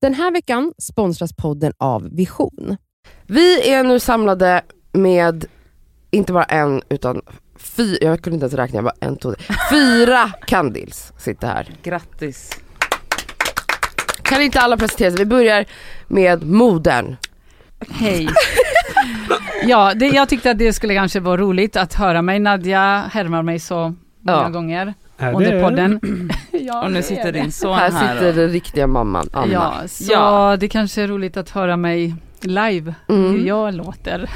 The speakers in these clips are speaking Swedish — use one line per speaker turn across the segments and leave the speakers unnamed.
Den här veckan sponsras podden av Vision.
Vi är nu samlade med, inte bara en utan fy, jag kunde inte ens räkna, jag bara en, två, tre. fyra Candils sitter här.
Grattis.
Kan inte alla presentera sig? Vi börjar med modern.
Hej. ja, det, jag tyckte att det skulle kanske vara roligt att höra mig. Nadja härmar mig så många
Ja.
gånger
Är
under
det-
podden. ja,
Och
det är
nu sitter
det.
din son
här
här.
sitter den riktiga mamman Anna.
Ja, så
Ja.
det kanske är roligt att höra mig live, hur
Mm.
jag låter.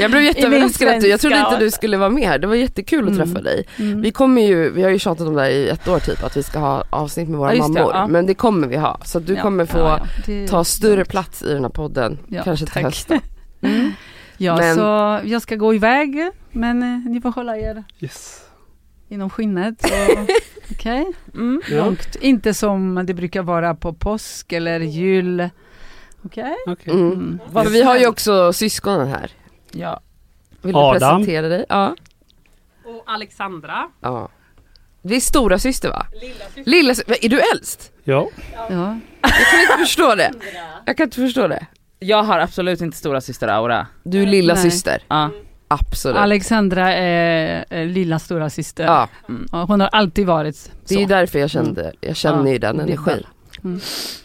Jag blev jätteöverraskad, att du, jag trodde
svenska.
inte du skulle vara med här. Det var jättekul att
Mm.
träffa dig. Vi kommer ju, vi har ju tjatat om det här i ett år typ, att vi ska ha avsnitt med våra
Ja, just det,
mammor.
ja.
Men det kommer vi ha. Så du
Ja,
kommer få
ja, ja, det-
ta större plats i den här podden,
Ja,
kanske till
tack.
hösten. Mm.
Ja,
men-
så jag ska gå iväg, men eh, ni får hålla er
Yes.
inom skinnet. och- Okej?
Mm.
Ja,
Långt. Inte som det brukar vara på påsk eller jul. Okej?
okej.
Mm.
Mm.
Vad
Men vi har ju
snällt.
också syskonen här.
Ja.
Vill du
Adam.
presentera dig? Ja.
och Alexandra.
ja. Det är stora syster va? Lilla syster. Är du äldst?
Ja.
Ja.
Jag kan inte förstå det. Jag kan inte förstå det.
Jag har absolut inte stora syster Aura.
Du är lilla
Nej.
syster.
Ja.
Absolut.
Alexandra är eh, lilla stora syster.
Ja,
Ja, Hon har alltid varit så.
det är ju därför jag kände, jag känner ju den
det är
energin.
väl.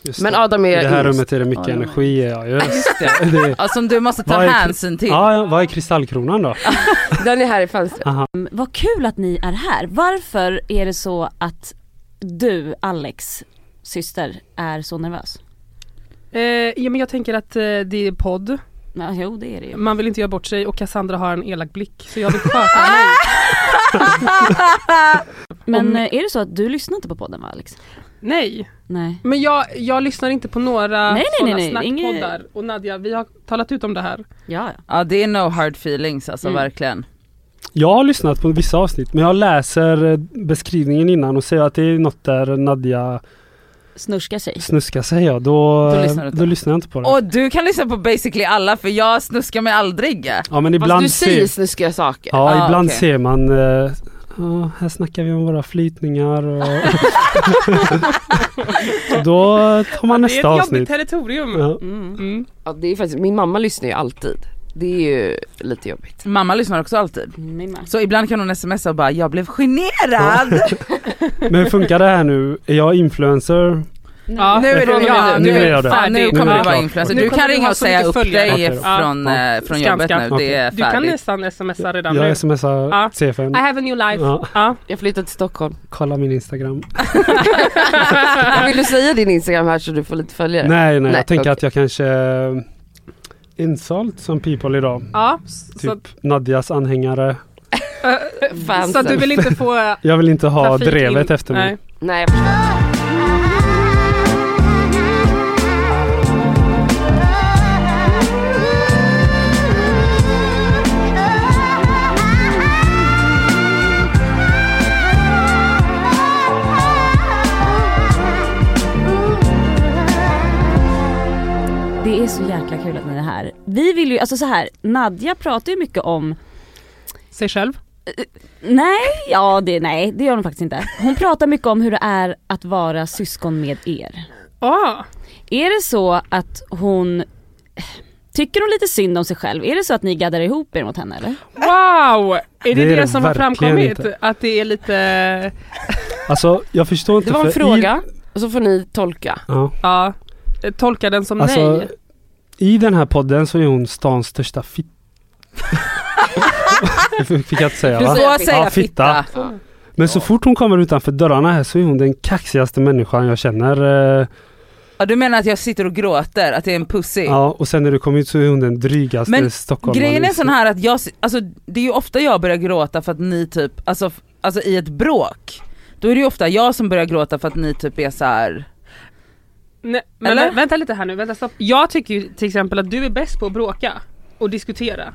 Just
Men
det.
Adam är
I det
yngst.
här rummet är det mycket
Ja, det var-
energi. Ja, just.
Just det.
det är,
Ja, Som du måste ta
Vad är-
hänsyn till.
ja, ja, vad är kristallkronan då?
Den är här i fönstret.
Mm, Vad kul att ni är här. Varför är det så att du, Alex syster, är så nervös?
Eh, ja, men jag tänker att eh, det är podd,
Ja, jo det är det ju.
man vill inte göra bort sig och Cassandra har en elak blick så jag vill sköta mig.
Men
Om-
eh, är det så att du lyssnar inte på podden va Alex?
Nej,
Nej.
men jag, jag lyssnar inte på några
Nej, nej,
såna
nej, nej, inget-
snackpoddar. Och Nadja, vi har talat ut om det här.
Ja, ja.
Ja det är no hard feelings alltså
Mm.
verkligen.
Jag har lyssnat på vissa avsnitt, men jag läser eh, beskrivningen innan och ser att det är något där Nadja
Snurskar sig.
snuskar sig. Ja. Då,
Då lyssnar du inte.
då lyssnar jag inte på det.
Och du kan lyssna på basically alla för jag snuskar mig aldrig.
ja, men
Fast
ibland
du säger
ser,
snuskiga saker.
ja,
Ah,
ibland
okej.
ser man eh, ja, här snackar vi om våra flytningar och då tar man
det är ett
nästa
jobbigt
avsnitt.
territorium.
Ja.
Mm.
Ja, det är faktiskt, min mamma lyssnar ju alltid. Det är ju lite jobbigt.
Mamma lyssnar också alltid.
Min med.
Så ibland kan hon smsa och bara jag blev generad.
Men hur funkar det här nu? Är jag influencer?
Ja,
Nu är
från och
du,
med
ja,
nu är jag det.
fan, nu
Färdig.
kommer
Nu är
du vara
jag klar.
influencer.
Nu
Du
kommer
kan
du
ringa
ha
och
så
säga
mycket
upp
följare.
dig
Okej då.
från,
Ja.
eh, från
Skanska.
jobbet nu. Det är
Du kan
färdigt.
nästan smsa redan nu.
Jag smsar
Ja. I
C5.
have a new life.
Ja.
Ja.
Jag flyttade till Stockholm.
Kolla min Instagram.
Vill du säga din Instagram här så du får lite följare?
Nej, nej,
Nej,
jag tänker
okej.
att jag kanske eh, insult som people idag.
Ja. Så,
Typ Nadjas anhängare.
att-
Fansen.
så att du vill inte få eh,
Jag vill inte ha
trafik
drevet
in.
efter mig.
Nej.
Nej, jag förstår.
Det är så jäkla kul att ni är här. Vi vill ju, alltså så här, Nadja pratar ju mycket om
sig själv.
Nej, ja det, nej det gör hon faktiskt inte. Hon pratar mycket om hur det är att vara syskon med er.
Ja.
Är det så att hon Tycker hon lite synd om sig själv? Är det så att ni gaddar ihop er mot henne eller?
Wow! Är det
Det
det,
är det
som har
verkligen
framkommit?
inte.
Att det är lite...
Alltså jag förstår inte.
Det var en
för I,
fråga och så får ni tolka.
ja,
Ja, eh, tolka den som
alltså,
nej.
I den här podden så är hon stans största fitt... Det fick jag inte säga
Du
va?
får
Ja,
säga
fitta.
fitta.
Men så fort hon kommer utanför dörrarna här så är hon den kaxigaste människan jag känner. eh,
Ja, du menar att jag sitter och gråter, att det är en pussy?
Ja, och sen när du kom ut så är hon den drygaste
Men
stockholmaren.
Grejen är sån här att jag, alltså, det är ju ofta jag börjar gråta för att ni typ, alltså, f- alltså i ett bråk, då är det ju ofta jag som börjar gråta för att ni typ är så här.
nej men
Eller?
vä- Vänta lite här nu, vänta stopp. Jag tycker ju till exempel att du är bäst på att bråka och diskutera.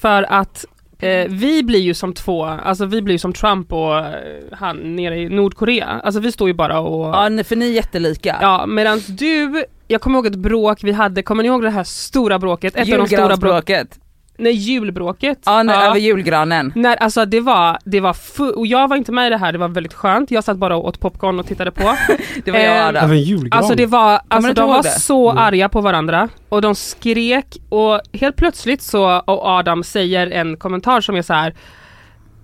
För att eh, vi blir ju som två, alltså vi blir ju som Trump och eh, han nere i Nordkorea. Alltså vi står ju bara och...
ja ni- för ni är jättelika.
Ja, medan du, jag kommer ihåg ett bråk vi hade, kommer ni ihåg det här stora bråket? Ett av de stora bråken.
Julgransbråket.
Nej julbråket.
Ja, när, över julgranen.
När, alltså det var, det var fu- och jag var inte med i det här, det var väldigt skönt. Jag satt bara och åt popcorn och tittade på.
Det var jag och
Eh,
Adam.
Även julgran.
Alltså det var,
du
alltså
inte
de
ihåg
var
det?
så
Mm.
arga på varandra och de skrek och helt plötsligt så, och Adam säger en kommentar som är så här.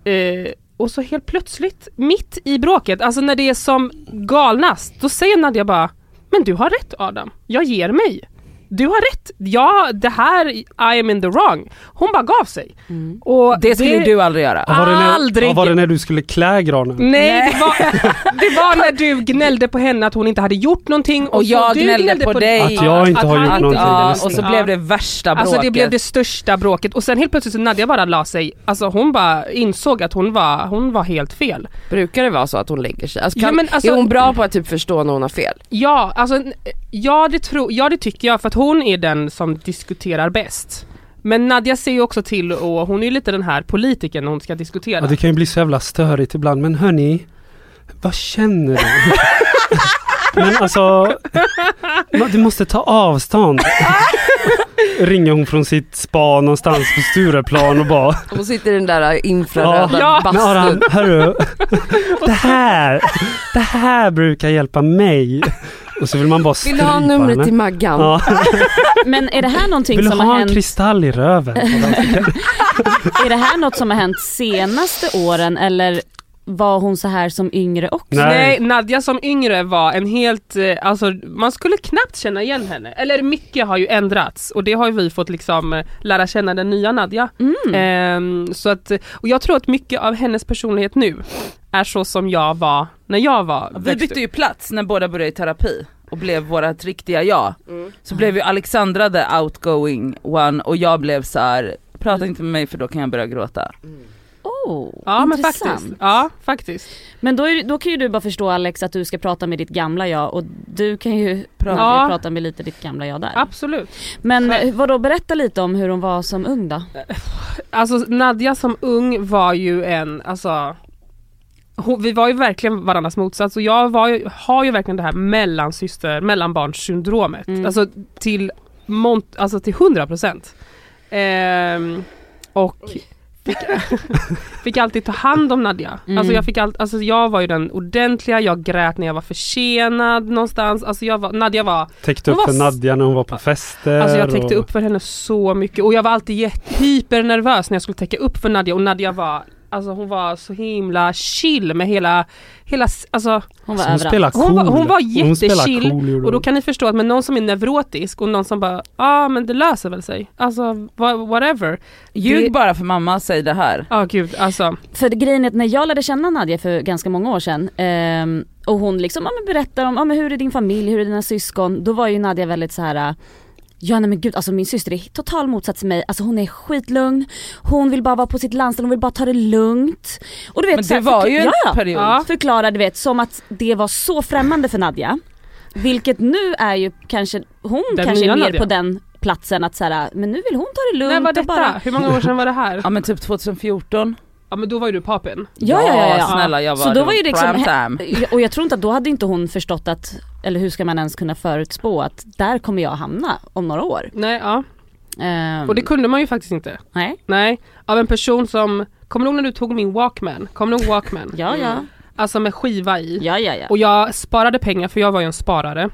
Eh, och så helt plötsligt, mitt i bråket, alltså när det är som galnast, då säger Nadja bara Men du har rätt Adam, jag ger mig. Du har rätt, ja det här, I am in the wrong. Hon bara gav sig. Och
Mm. Det skulle ju du aldrig göra.
Ja, var, det när,
aldrig- Mm.
ja, var det när du skulle klä granen?
Nej, Det, var, det var när du gnällde på henne att hon inte hade gjort någonting och,
Och
så
jag
du
gnällde på dig.
Att jag inte
att
har
han-
gjort
Att,
någonting.
ja,
just
och så
det.
blev det värsta bråket.
Alltså det blev det största bråket och sen helt plötsligt så Nadja bara la sig, alltså hon bara insåg att hon var, hon var helt fel.
Brukar det vara så att hon lägger sig? Alltså,
Ja,
kan,
men alltså-
är hon bra på att typ förstå när hon har fel?
Ja, alltså n- ja det, tro, ja det tycker jag för att hon är den som diskuterar bäst. Men Nadja ser ju också till och hon är ju lite den här politikern när hon ska diskutera.
Ja, det kan ju bli så jävla störigt ibland. Men hörni, vad känner du? men alltså, ma- du måste ta avstånd. Ringer hon från sitt spa någonstans på Stureplan och bara
Hon sitter i den där äh, infraröda
Ja.
Men
bastun.
Aran, hörru. Det här, det här brukar hjälpa mig. Och så vill man bara
Vill
strypa
du ha numret
henne.
till Maggan?
Ja.
Men är det här någonting
Vill du
som har
ha en
hänt,
kristall i röven?
är det här något som har hänt senaste åren eller var hon så här som yngre också?
Nej.
Nej, Nadja som yngre var en helt, eh, alltså man skulle knappt känna igen henne. Eller mycket har ju ändrats och det har ju vi fått liksom eh, lära känna den nya Nadja.
Mm.
Ehm, så att, och jag tror att mycket av hennes personlighet nu är så som jag var när jag var
Vi
växt
bytte
upp.
ju plats när båda började i terapi och blev vårat riktiga jag.
Mm.
Så blev ju Alexandra the outgoing one och jag blev så här. prata inte med mig för då kan jag börja gråta.
Oh,
Ja men
intressant.
faktiskt. Ja, faktiskt.
Men då, är, då kan ju du bara förstå Alex att du ska prata med ditt gamla jag och du kan ju prata,
Ja.
prata med lite ditt gamla jag där.
Absolut.
Men
Själv.
vad då berätta lite om hur hon var som ung då?
Alltså Nadja som ung var ju en, alltså hon, vi var ju verkligen varandras motsats och jag var ju, har ju verkligen det här mellansyster, mellanbarnssyndromet.
Mm.
Alltså till mont, alltså till 100 procent. Ehm, och fick, fick alltid ta hand om Nadja.
Mm.
Alltså jag, fick all, alltså jag var ju den ordentliga, jag grät när jag var försenad någonstans. Alltså jag var, Nadja var
Täckte upp
Hon
för
var s-
Nadja när hon var på fester.
Alltså jag täckte
och-
upp för henne så mycket och jag var alltid jätte- hypernervös när jag skulle täcka upp för Nadja och Nadja var Alltså hon var så himla chill med hela, hela s- alltså,
Hon var
hon
överallt.
spelar cool.
hon, var, hon var
spelar
jättechill
cool, gjorde
och då
hon.
kan ni förstå att med någon som är neurotisk och någon som bara, ja ah, men det löser väl sig, alltså wha- whatever.
Ljug
Det-
bara för mamma, säg det här.
Ja gud alltså,
För det- grejen är att när jag lärde känna Nadja för ganska många år sedan ehm, och hon liksom ja, men berättar om ja, men hur är din familj, hur är dina syskon? Då var ju Nadja väldigt så här. äh, Ja nej men gud alltså min syster är total motsats till mig, alltså hon är skitlugn, hon vill bara vara på sitt landställe, hon vill bara ta det lugnt. Och du vet,
Men
så
det
här,
var
förkla-
ju en
ja, ja.
period.
Ja.
Förklara du vet som att det var så främmande för Nadja. Vilket nu är ju kanske, hon
Den
kanske
nya
är mer
Nadja.
på den platsen att så här, men nu vill hon ta det lugnt
när var
och
detta?
bara...
Hur många år sedan var det här?
Ja men typ 2014.
Ja men då var ju du papen.
Ja ja ja, ja, ja.
snälla jag var,
Så då var ju det liksom-
prime time.
Och jag tror inte att då hade inte hon förstått att, eller hur ska man ens kunna förutspå att där kommer jag hamna om några år.
Nej ja,
Ehm,
och det kunde man ju faktiskt inte.
Nej,
Nej, av en person som, kommer du ihåg när du tog min walkman? Kommer du ihåg walkman?
ja ja,
Alltså med skiva i.
ja ja ja.
Och jag sparade pengar för jag var ju en sparare.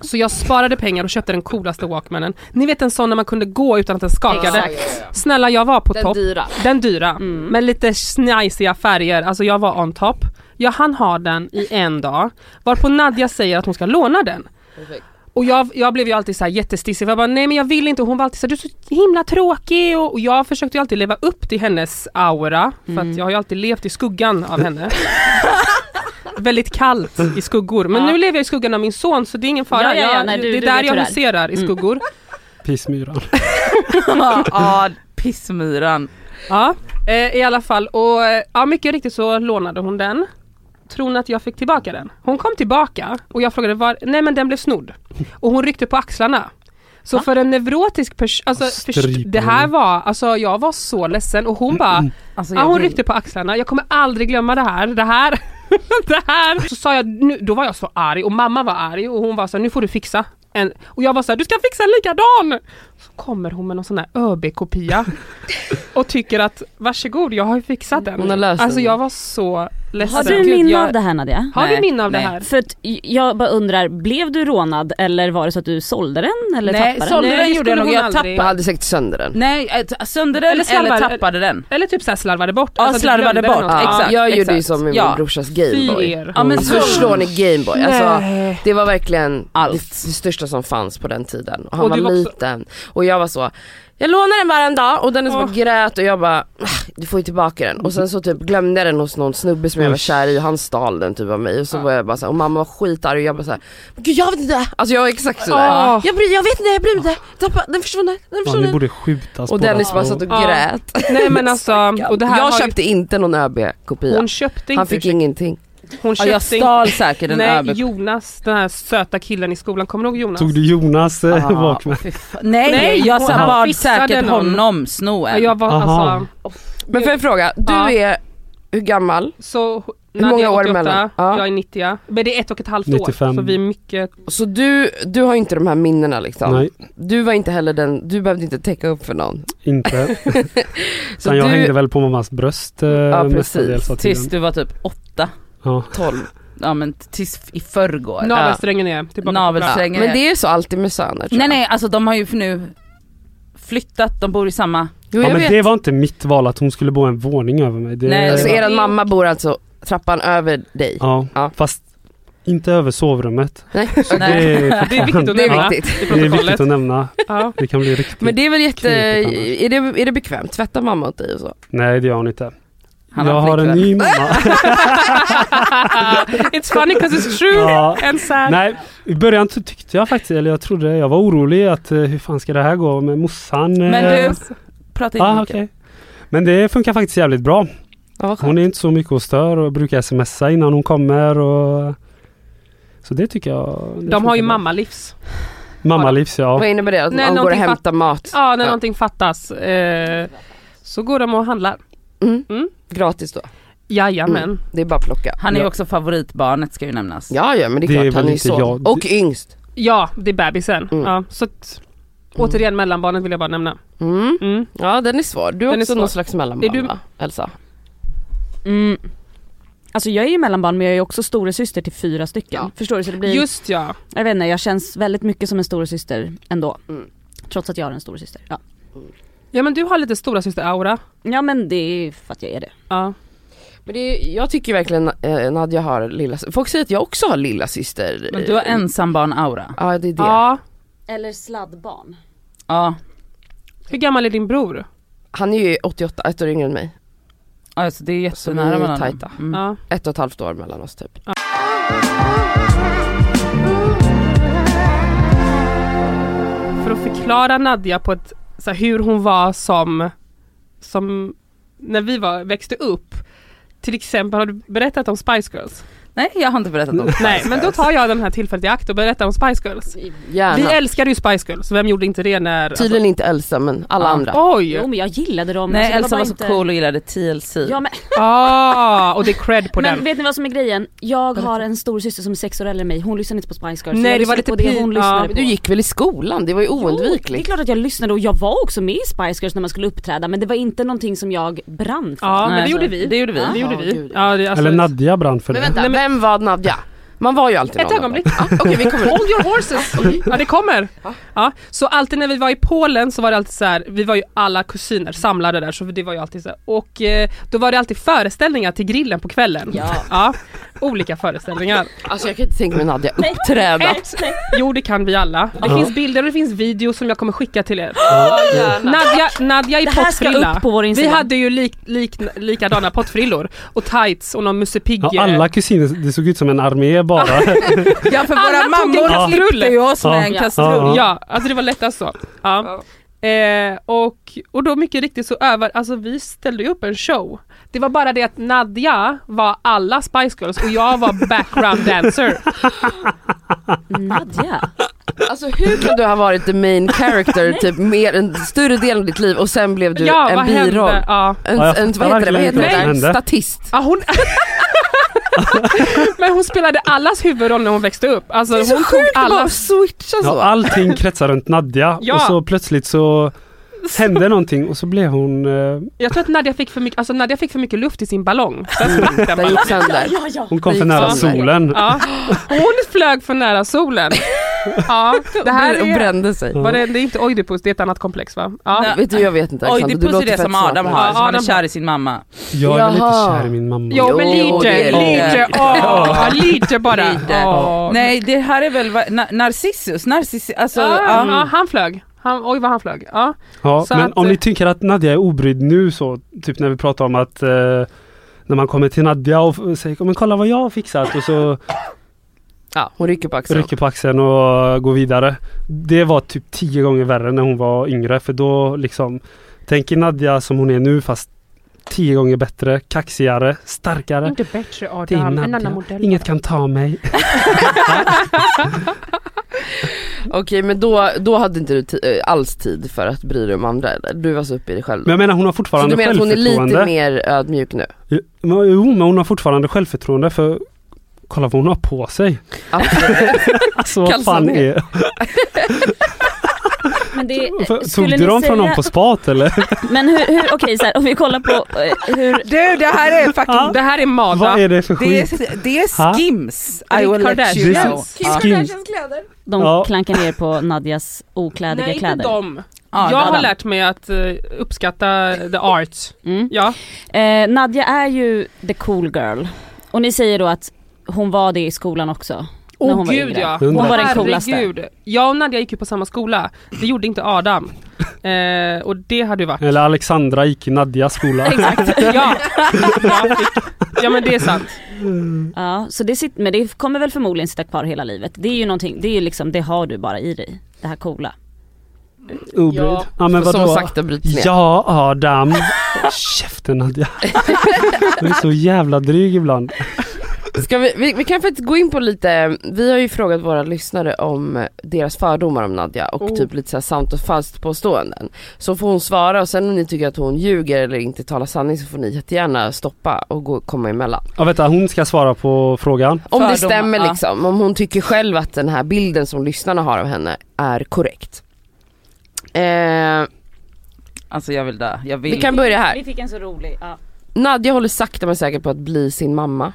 Så jag sparade pengar och köpte den coolaste walkmanen. Ni vet en sån när man kunde gå utan att den skakade. Snälla jag var på
Den
topp.
dyra.
Den dyra.
Mm.
Men lite snajsiga färger, alltså jag var on top. Jag hann ha den i en dag, varpå Nadja säger att hon ska låna den. Och jag, jag blev ju alltid så här jättestissig för jag bara nej men jag vill inte och hon var alltid så här, du är så himla tråkig och, och jag försökte ju alltid leva upp till hennes aura för att
Mm.
jag har ju alltid levt i skuggan av henne. Väldigt kallt i skuggor men
Ja.
nu lever jag i skuggan av min son så det är ingen fara,
Ja, ja, ja,
Jag-
nej, du-
det är
du
där
vet hur
jag
det är. Mm.
huserar i skuggor.
Pissmyran.
ja pissmyran.
Ja, eh, i alla fall. Och eh, ja, mycket riktigt så lånade hon den. Tror ni att jag fick tillbaka den? Hon kom tillbaka och jag frågade var, nej men den blev snodd. Och hon ryckte på axlarna. Så för en neurotisk person, alltså
Ja,
först-
stryper
det här
hon.
var, alltså jag var så ledsen och hon bara,
Alltså,
ja,
jag
hon
vill-
ryckte på axlarna, jag kommer aldrig glömma det här, det här, det här. Så sa jag, nu, då var jag så arg och mamma var arg och hon var så här, nu får du fixa. En, och jag var så här, du ska fixa en likadan! Så kommer hon med någon sån här ÖB-kopia och tycker att varsågod jag har ju fixat den.
Hon har löst
alltså
den.
jag var så ledsen.
Har du
Gud,
minne
jag-
av det här Nadia?
Har du
Nej,
minne av det
nej.
här?
För att j- jag bara undrar, blev du rånad eller var det så att du sålde den eller
Nej,
tappade
sålde
Nej,
den
det
gjorde
skulle
jag nog,
hon
jag
aldrig.
Jag
tappade.
hade säkert sönder den.
Nej, äh, sönder den
Eller
eller,
slarvar-
tappade den.
Eller typ såhär slarvade bort.
Ja,
du
slarvade
glömde
bort,
den och-
exakt.
jag gjorde ju som med
Ja.
min brorsas
Ja, Fy
Gameboy.
er.
Ja, men
Alltså
så,
förstår ni Gameboy? Alltså,
Nej.
det var verkligen
Allt.
Det, det största som fanns på den tiden. Och han
Och
var,
du var också-
liten. Och jag var så, jag lånade den bara en dag och den liksom
Åh.
bara grät och jag bara, "Ah, du får ju tillbaka den. Och sen så typ glömde jag den hos någon snubbe som jag var kär i och han stal den typ av mig. Och så var jag bara så här, och mamma var skitarg och jag bara såhär, gud jag vet inte. Alltså jag var exakt sådär.
Åh.
Jag, bryr, jag vet inte, jag bryr mig inte. Tappa- Den försvann, den
Ja, ni
försvann.
borde skjutas
Och
båda
Dennis bara
två.
satt och
Ja.
grät.
Nej men alltså, och det här
jag
har
köpte inte någon ÖB-kopia.
ju, hon köpte inte.
han fick ingenting.
hon
ja,
köpte
jag stal säkert
inte.
en
Nej
över...
Jonas, den här söta killen i skolan, kommer du ihåg Jonas?
Tog du Jonas
Ah,
eh, vakna?
fy fan. Nej,
Nej,
jag
hon-
sa
han
bad
fixade
säkert
någon.
honom sno
Ja,
en.
jag var
Aha.
alltså,
Men får jag fråga, du
Ja.
är hur gammal?
så
Hur många år emellan? Ja.
Jag är 90 men det är ett och ett halvt
95.
år så vi är mycket,
Så du, du har inte de här minnena liksom?
Nej,
Du var inte heller den, du behövde inte täcka upp för någon.
inte.
Så
Utan jag
du-
hängde väl på mammas bröst eh,
Ja, precis.
mestadels av
Tills
tiden.
du var typ åtta.
Ja.
12.
Ja men tills i förrgår.
navelsträngen är tillbaka
Navelsträngen.
Men det är ju så alltid med söner tror
Nej
jag.
nej alltså de har ju för nu flyttat, de bor i samma.
Jo, jag
ja men
vet.
det var inte mitt val att hon skulle bo en våning över mig. Det,
Nej,
Alltså
det var-
eran mamma bor alltså trappan över dig?
ja,
Ja.
fast inte över sovrummet.
Nej.
Nej.
Det, är
Det är viktigt att
Det
nämna
är viktigt.
i
det är viktigt
protokollet.
att nämna.
Ja.
Det kan bli riktigt.
Men det är väl jätte,
Knepigt annars.
är det, är det bekvämt? Tvättar mamma åt dig och så?
Nej det gör hon inte.
Han
jag har en
flickvän.
ny mamma.
It's funny 'cause it's true
ja.
and sad.
Nej, i början så tyckte jag faktiskt, eller jag trodde, jag var orolig att eh, hur fan ska det här gå med morsan?
Men
eh,
du, prata inte
ah,
mycket.
okej. Men det funkar faktiskt jävligt bra.
Ja, vad skönt.
Hon är inte så mycket och stör och brukar smsa innan hon kommer och så det tycker jag. det
De har ju
funkar bra.
mammalivs.
Mammalivs ja.
Vad innebär det? Att
Nej,
man går och
någonting
hämtar mat
Ja, när
Ja.
någonting fattas eh, så går de och handlar.
Mm.
Mm.
gratis då?
Jajamän.
Mm. Det är bara att plocka.
Han är ju
Ja.
också favoritbarnet ska ju nämnas.
Ja, ja men det är
Det är
klart,
väl
han är ju
inte
så.
jag.
Och yngst.
Ja, det är bebisen.
Mm.
Ja, så att, återigen mellanbarnet vill jag bara nämna.
Mm.
Mm.
Ja den är svår. Du är
Den är
också
svår.
någon slags mellanbarn
Är du-
va? Elsa?
Mm. Alltså jag är ju mellanbarn men jag är ju också storasyster till fyra stycken.
Ja.
Förstår du? Så det blir,
Just ja.
jag vet inte, jag känns väldigt mycket som en storasyster ändå.
Mm.
Trots att jag är en storasyster. Ja.
Ja men du har lite stora syster aura
ja men det är ju för att jag är det.
Ja.
Men det är, jag tycker verkligen eh, Nadja har lilla Folk säger att jag också har lilla syster.
Men du har ensambarn-aura.
Ja det är det.
ja.
Eller sladdbarn.
Ja,
Hur gammal är din bror?
Han är ju 88, ett år yngre än mig.
alltså det är
Så vi är
jättenära mellan dem.
tajta.
Mm.
Ja.
Ett och ett halvt år mellan oss typ.
För att förklara Nadja på ett, så här, hur hon var som, som när vi var, växte upp. Till exempel, har du berättat om Spice Girls?
Nej jag har inte berättat om
Nej, men då tar jag den här tillfället i akt och berättar om Spice Girls. Vi
Gärna.
älskade ju Spice Girls, vem gjorde inte det när... alltså-
Tydligen inte Elsa men alla
Ja.
andra.
Oj!
Jo men jag gillade dem.
Nej
Alltså, det
Elsa
bara
var så
inte-
cool och gillade TLC.
Ja, men
Ah, och det är cred på
men
den.
vet ni vad som är grejen? Jag har en stor syster som är sex år äldre än mig, hon lyssnade inte på Spice Girls.
Nej,
jag
det
lyssnade
var lite
på det
pin-
hon
ja,
lyssnade
men
på.
Du gick väl i skolan? Det var ju
Jo, det är
oundvikligt.
klart att jag lyssnade och jag var också med i Spice Girls när man skulle uppträda men det var inte någonting som jag brann för.
Ja, men
Nej,
det gjorde
alltså,
vi.
det gjorde vi.
Det gjorde
Ja,
vi.
gud,
Ja, det, är alltså,
Eller Nadja brann för
Men
det.
vänta, vem var Nadja? Man var ju alltid
Ett
någon av
ögonblick.
dem. Ja, Okej vi kommer
Hold your horses!
Mm.
Ja det kommer! Ja, så alltid när vi var i Polen så var det alltid så här, vi var ju alla kusiner samlade där så det var ju alltid så här. och eh, då var det alltid föreställningar till grillen på kvällen.
Ja.
olika föreställningar.
Alltså jag kan inte tänka mig Nadja
Nej.
uppträda.
Ett, nej.
Jo det kan vi alla. Det
Ja.
finns bilder och det finns videos som jag kommer skicka till er.
gärna.
Nadja, Nadja i
Det här ska
pottfrilla.
upp på vår
vi
Instagram.
hade ju lik, lik, likadana pottfrillor och tights och någon Musse Pigg.
Ja, alla kusiner, det såg ut som en armé bara.
Ja för
Alla
våra
tog en
mammor
kastrull.
klippte ju oss
Ja.
med en
Ja.
kastrull.
Ja.
Ja, alltså det var lättast så. Ja. Eh, och, och då mycket riktigt så övar, alltså vi ställde ju upp en show. Det var bara det att Nadja var alla Spice Girls och jag var background dancer.
Nadja.
Alltså hur kan du ha varit the main character typ mer, en större del av ditt liv och sen blev du
ja,
en
vad hände?
biroll?
Ja.
En,
Ja, jag
en,
fattar
vad heter det? Vad
verkligen
heter
inte vad som
det?
hände.
Statist.
Ja, hon, Men hon spelade allas huvudroll när hon växte upp. Alltså,
Det är så
hon tog
sjukt att bara
allas...
switcha så.
Ja, allting kretsar runt Nadja
Ja.
och så plötsligt så hände någonting och så blev hon... Eh,
Jag tror att Nadja fick för mycket, alltså, Nadja fick för mycket luft i sin ballong. Sen sprack den
Den
bara.
gick sönder.
hon kom
Det
för
gick
nära
sönder.
solen.
Ja. Hon flög för nära solen. Ja, det här
och
är...
brände sig.
Var det, det är inte Oidipus, det är ett annat komplex va? Ja.
Nej.
Vet du, jag vet inte
Oj,
Alexander.
det
Du
är
låter
det
fett
som Adam
smart.
har,
Ja,
som han är
Adam
kär i sin mamma.
Jag är lite
Jaha.
kär i min mamma.
Jo men
Jo, det
lite,
är det.
lite, åh, lite bara.
Lite.
Åh.
Nej det här är väl va- na- Narcissus, Narcissus, alltså
Ja,
ja.
ja, han flög. Han, oj vad han flög. Ja.
Ja,
Så
men
att-
om ni tycker att Nadja är obrydd nu så, typ när vi pratar om att eh, när man kommer till Nadja och f- säger men kolla vad jag har fixat och så
Ja, hon rycker på axeln.
rycker på axeln och går vidare. Det var typ tio gånger värre när hon var yngre för då liksom Tänk er Nadja som hon är nu fast tio gånger bättre, kaxigare, starkare.
Inte bättre
Det är
Adam, en annan
Nadja.
modell.
Inget kan ta mig.
Okej men då, då hade inte du ti- eh, alls tid för att bry dig om andra eller? Du var så uppe i dig själv.
Men jag menar hon har
så du
fortfarande
menar att hon är lite
självförtroende.
mer ödmjuk nu?
Jo, men- Jo men hon har fortfarande självförtroende för kolla vad hon har på sig.
Absolut.
Alltså vad fan
Kalsonger.
är
Men det,
För, tog
skulle
du
ni
dem från
säga-
någon på spat eller?
Men hur, hur okej så här, om vi kollar på eh, hur,
Du det här är fucking,
Det här är
Vad
Mada.
är det för
det,
skit?
är, det är
Ha?
Skims, I
Rick
will let you
Kardashian.
know.
Kim Kardashians
kläder.
de
Ja.
klankar ner på Nadjas oklädiga
Nej inte
kläder.
dem.
Ja,
Jag har
Adam.
lärt mig att eh, uppskatta the arts.
Mm.
Ja.
Eh, Nadja är ju the cool girl. Och ni säger då att hon var det i skolan också. när hon
Åh
var
gud
yngre.
ja.
Hon
Åh,
var
den coolaste.
herregud. Jag och Nadja gick ju på samma skola. Det gjorde inte Adam. Eh, och det hade ju varit...
Eller Alexandra gick i Nadjas skola.
Exakt.
Ja. Jag fick- ja men det är sant.
Ja, så det sit, men det kommer väl förmodligen sitta kvar hela livet. Det är ju någonting, det är ju liksom, det har du bara i dig. Det här coola.
Obrydd. Ja,
Ja,
men
Som
vadå?
sakta bryts ner.
Ja Adam. Käften Nadja. Du är så jävla dryg ibland.
Ska vi, vi, vi kan faktiskt gå in på lite, vi har ju frågat våra lyssnare om deras fördomar om Nadja och
Oh.
typ lite såhär sant och falskt påståenden. Så får hon svara och sen om ni tycker att hon ljuger eller inte talar sanning så får ni jättegärna stoppa och gå, komma emellan.
Ja vänta hon ska svara på frågan.
Om det
Fördomar,
stämmer
ja.
liksom, om hon tycker själv att den här bilden som lyssnarna har av henne är korrekt. Eh,
Alltså jag vill dö, jag vill.
vi kan börja här.
Vi fick en så rolig, ja.
Nadja håller sakta men säkert på att bli sin mamma.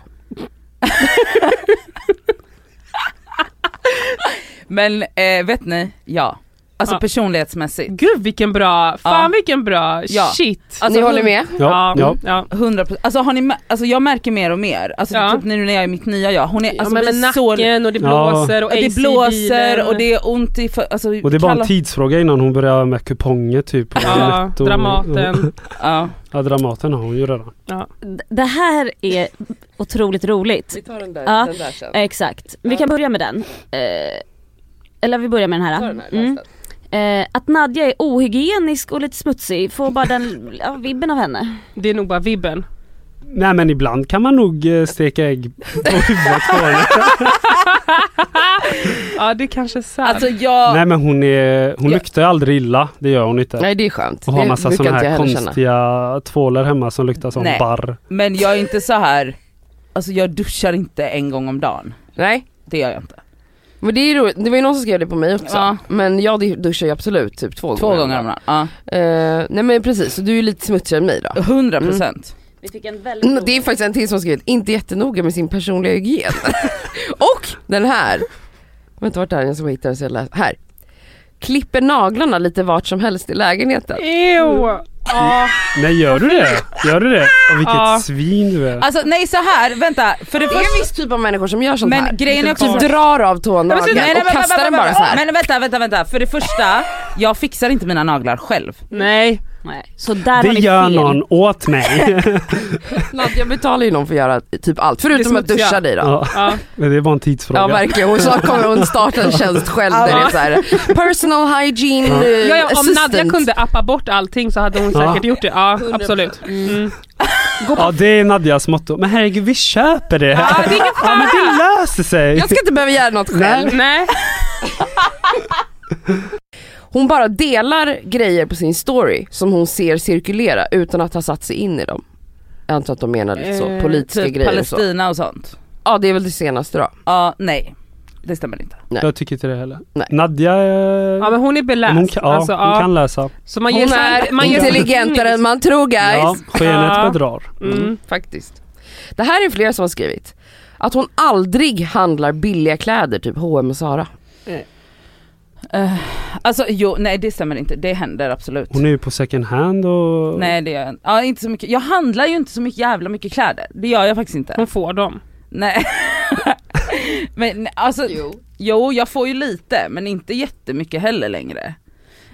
Men eh, vet ni, ja. Alltså
Ja.
personlighetsmässigt.
Gud vilken bra, fan
Ja.
vilken bra,
Ja.
shit.
Alltså,
ni håller
hon-
med?
Ja,
mm,
ja.
100 procent, alltså, har ni mä- alltså jag märker mer och mer, alltså
Ja.
typ nu när jag är mitt nya jag, hon är, alltså,
ja, men
blir
med
så,
nacken och det
Ja.
blåser och
det
AC
blåser
bilen.
och det är ont i, för, alltså,
Och det är bara
kalla-
en tidsfråga innan hon börjar med kuponger typ. Och
Ja,
Netto.
Dramaten.
ja.
Ja Dramaten har hon ju redan.
D- Det här är otroligt roligt.
tar den där,
Ja. den
där sen.
Exakt. Vi kan börja med den. Eh, eller vi börjar med den här. Mm. Eh, att Nadja är ohygienisk och lite smutsig får bara den ja, vibben av henne.
Det är nog bara vibben.
Nej men ibland kan man nog eh, steka ägg på huvudet på henne.
Ja det kanske är sant.
Alltså jag,
Nej men hon, är, hon luktar ju aldrig illa. Det gör hon inte.
Nej det är skönt.
Och har
Det
massa
brukar
sådana
inte jag
här
heller känna.
konstiga tvålar hemma som luktar som
Nej.
barr.
men jag är inte så här. alltså jag duschar inte en gång om dagen.
Nej,
Det gör jag inte.
men det är ju roligt. Det var ju någon som skrev det på mig också.
Ja.
Men jag duschar ju absolut typ två,
Två gånger om dagen. Ja.
dagen. Eh, nej men precis, så du är ju lite smutsigare än mig då.
100 procent.
Vi fick en väldigt
Mm, Det är faktiskt en till som har skrivit, inte jättenoga med sin personliga hygien. Och den här. Vänta vart är den? Jag ska bara hitta den så jag läser. Här. Klipper naglarna lite vart som helst i lägenheten.
Ew! Ja,
Nej gör du det? Gör du det? Och vilket
Ja.
svin du är.
Alltså nej så här, vänta,
Det
för det
är en
första
viss typ av människor som gör sånt
Men
här.
grejen är också-
typ drar av tånageln
Nej, nej,
och
men-
kastar
men-
den bara så här.
Men vänta, vänta, vänta. För det första, jag fixar inte mina naglar själv.
nej.
Nej, så där har
Det
ni
gör
fel.
någon åt mig.
Nadja, Jag betalar ju någon för att göra typ allt, förutom
Det är
att duscha
smutsiga.
dig då.
ja.
Ja.
Men det är bara en tidsfråga.
Ja verkligen, och snart kommer hon starta en tjänst själv där det är så här, personal hygiene
Ja.
eh,
Ja, ja, om
assistant.
Nadja kunde appa bort allting så hade hon
Ja.
säkert gjort det. Ja absolut. Mm.
ja det är Nadjas motto. Men herregud vi köper det.
Ja, det är ingen
Ja men det löser sig.
Jag ska inte behöva göra något själv.
Nej.
Hon bara delar grejer på sin story som hon ser cirkulera utan att ha satt sig in i dem. Eh, Jag antar att de menar lite så,
Eh,
politiska
Typ
grejer och så.
Palestina och sånt.
Ja det är väl det senaste då.
Ja, nej. Det stämmer inte.
Jag tycker inte det heller.
Nej.
Nadja, eh,
Ja men hon är beläst.
hon, kan, ja,
Alltså,
hon
ja.
kan läsa.
Så man ger
Hon
sig-
är
man ger sig-
intelligentare än man tror guys.
Ja,
Ja.
skenet bedrar.
Mm.
Faktiskt. Det här är flera som har skrivit. Att hon aldrig handlar billiga kläder, typ H&M och Zara.
Eh, alltså jo, nej det stämmer inte. Det händer absolut.
Hon är ju på second hand och...
Nej det gör jag inte. Ja, inte så mycket. Jag handlar ju inte så mycket jävla mycket kläder. Det gör jag faktiskt inte.
Hon får dem.
Nej. men nej, alltså, jo. jag får ju lite men inte jättemycket heller längre.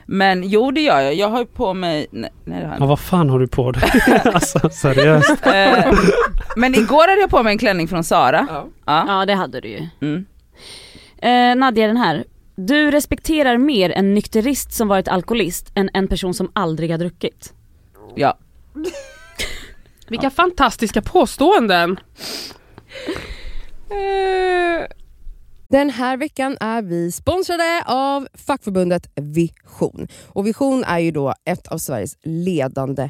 Men jo det gör jag, jag har ju på mig, nej, nej det har jag
Ja, vad fan har du på dig? alltså seriöst.
inte. Eh, Men igår hade jag på mig en klänning från Sara.
Ja.
Ja.
Ja det hade du ju.
Mm.
Eh, Nadja den här. Du respekterar mer en nykterist som varit alkoholist än en person som aldrig har druckit.
ja.
Vilka fantastiska påståenden. Eh.
Den här veckan är vi sponsrade av fackförbundet Vision. Och Vision är ju då ett av Sveriges ledande